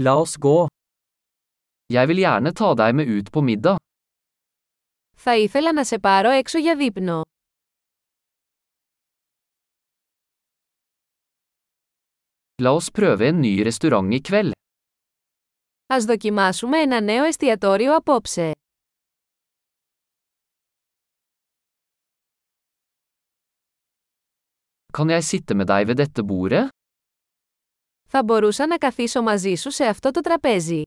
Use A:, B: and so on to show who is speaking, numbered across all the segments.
A: La oss gå. Jeg vil gjerne ta deg med ut på middag.
B: Θα ήθελα να σε πάρω έξω για δείπνο.
A: La oss prøve en ny restaurant i kveld.
B: Ας δοκιμάσουμε ένα νέο εστιατόριο απόψε.
A: Kan jeg sitte med deg ved dette bordet?
B: Θα μπορούσα να καθίσω μαζί σου σε αυτό το τραπέζι.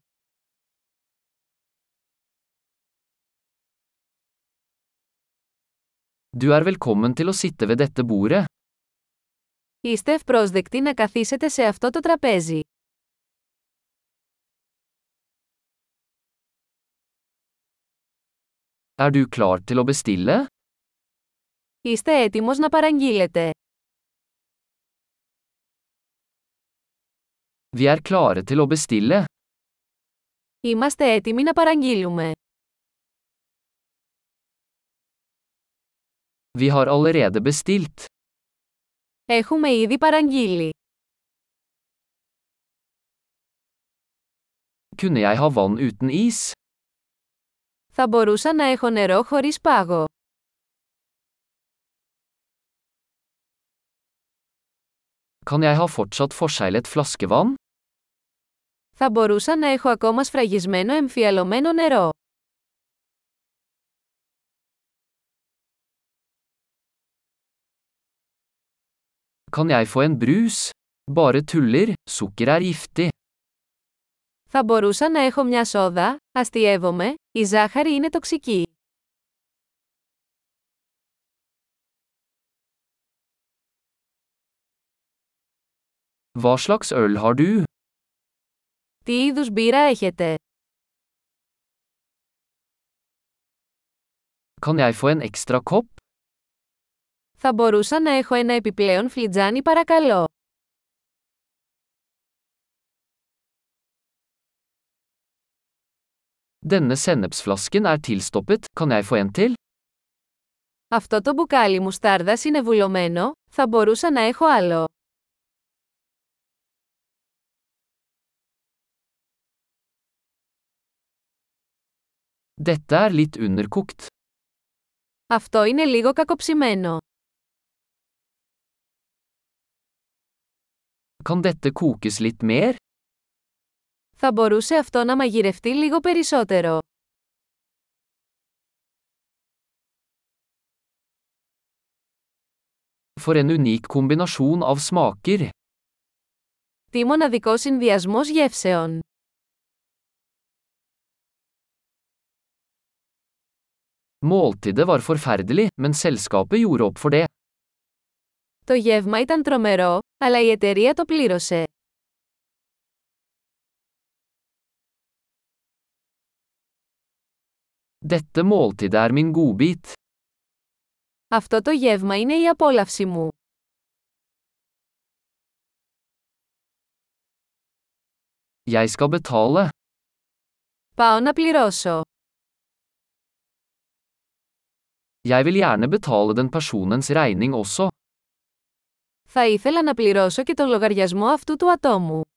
A: Du er velkommen til å sitte ved dette bordet.
B: Είστε ευπρόσδεκτοι να καθίσετε σε αυτό το τραπέζι.
A: Er du klar til å bestille?
B: Είστε έτοιμος να παραγγείλετε.
A: Vi er klare til å bestille.
B: Είμαστε έτοιμοι να παραγγείλουμε.
A: Vi har allerede bestilt.
B: Έχουμε ήδη παραγγείλει.
A: Kunne jeg ha vann uten is?
B: Θα μπορούσα να έχω νερό χωρίς πάγο.
A: Kan jeg ha fortsatt forseglet flaskevann?
B: Θα μπορούσα να έχω ακόμα σφραγισμένο εμφιαλωμένο νερό.
A: Kan jeg få en brus? Bare tuller, sukker er giftig.
B: Θα μπορούσα να έχω μια σόδα, αστειεύομαι, η ζάχαρη είναι τοξική.
A: Hva slags øl har du?
B: Τι είδους μπύρα έχετε.
A: Kan jeg få en ekstra kopp?
B: Θα μπορούσα να έχω ένα επιπλέον φλιτζάνι παρακαλώ.
A: Denne sennepsflasken er tilstoppet, kan jeg få en til?
B: Αυτό το μπουκάλι μουστάρδας είναι βουλωμένο, θα μπορούσα να έχω άλλο.
A: Dette er litt underkokt.
B: Αυτό είναι λίγο κακοψημένο.
A: Kan dette kokes litt mer?
B: Θα μπορούσε αυτό να μαγειρευτεί λίγο περισσότερο.
A: For en unik kombinasjon av smaker.
B: Τι μοναδικό συνδυασμός γεύσεων.
A: Måltidet var forferdelig, men selskapet gjorde opp for det.
B: Το γεύμα ήταν τρομερό, αλλά η εταιρεία το πλήρωσε.
A: Dette måltidet er min godbit.
B: Αυτό το γεύμα είναι η απόλαυση μου.
A: Jeg skal betale.
B: Πάω να πληρώσω.
A: Jeg vil gjerne betale den personens regning også.
B: Θα ήθελα να πληρώσω και τον λογαριασμό αυτού του ατόμου.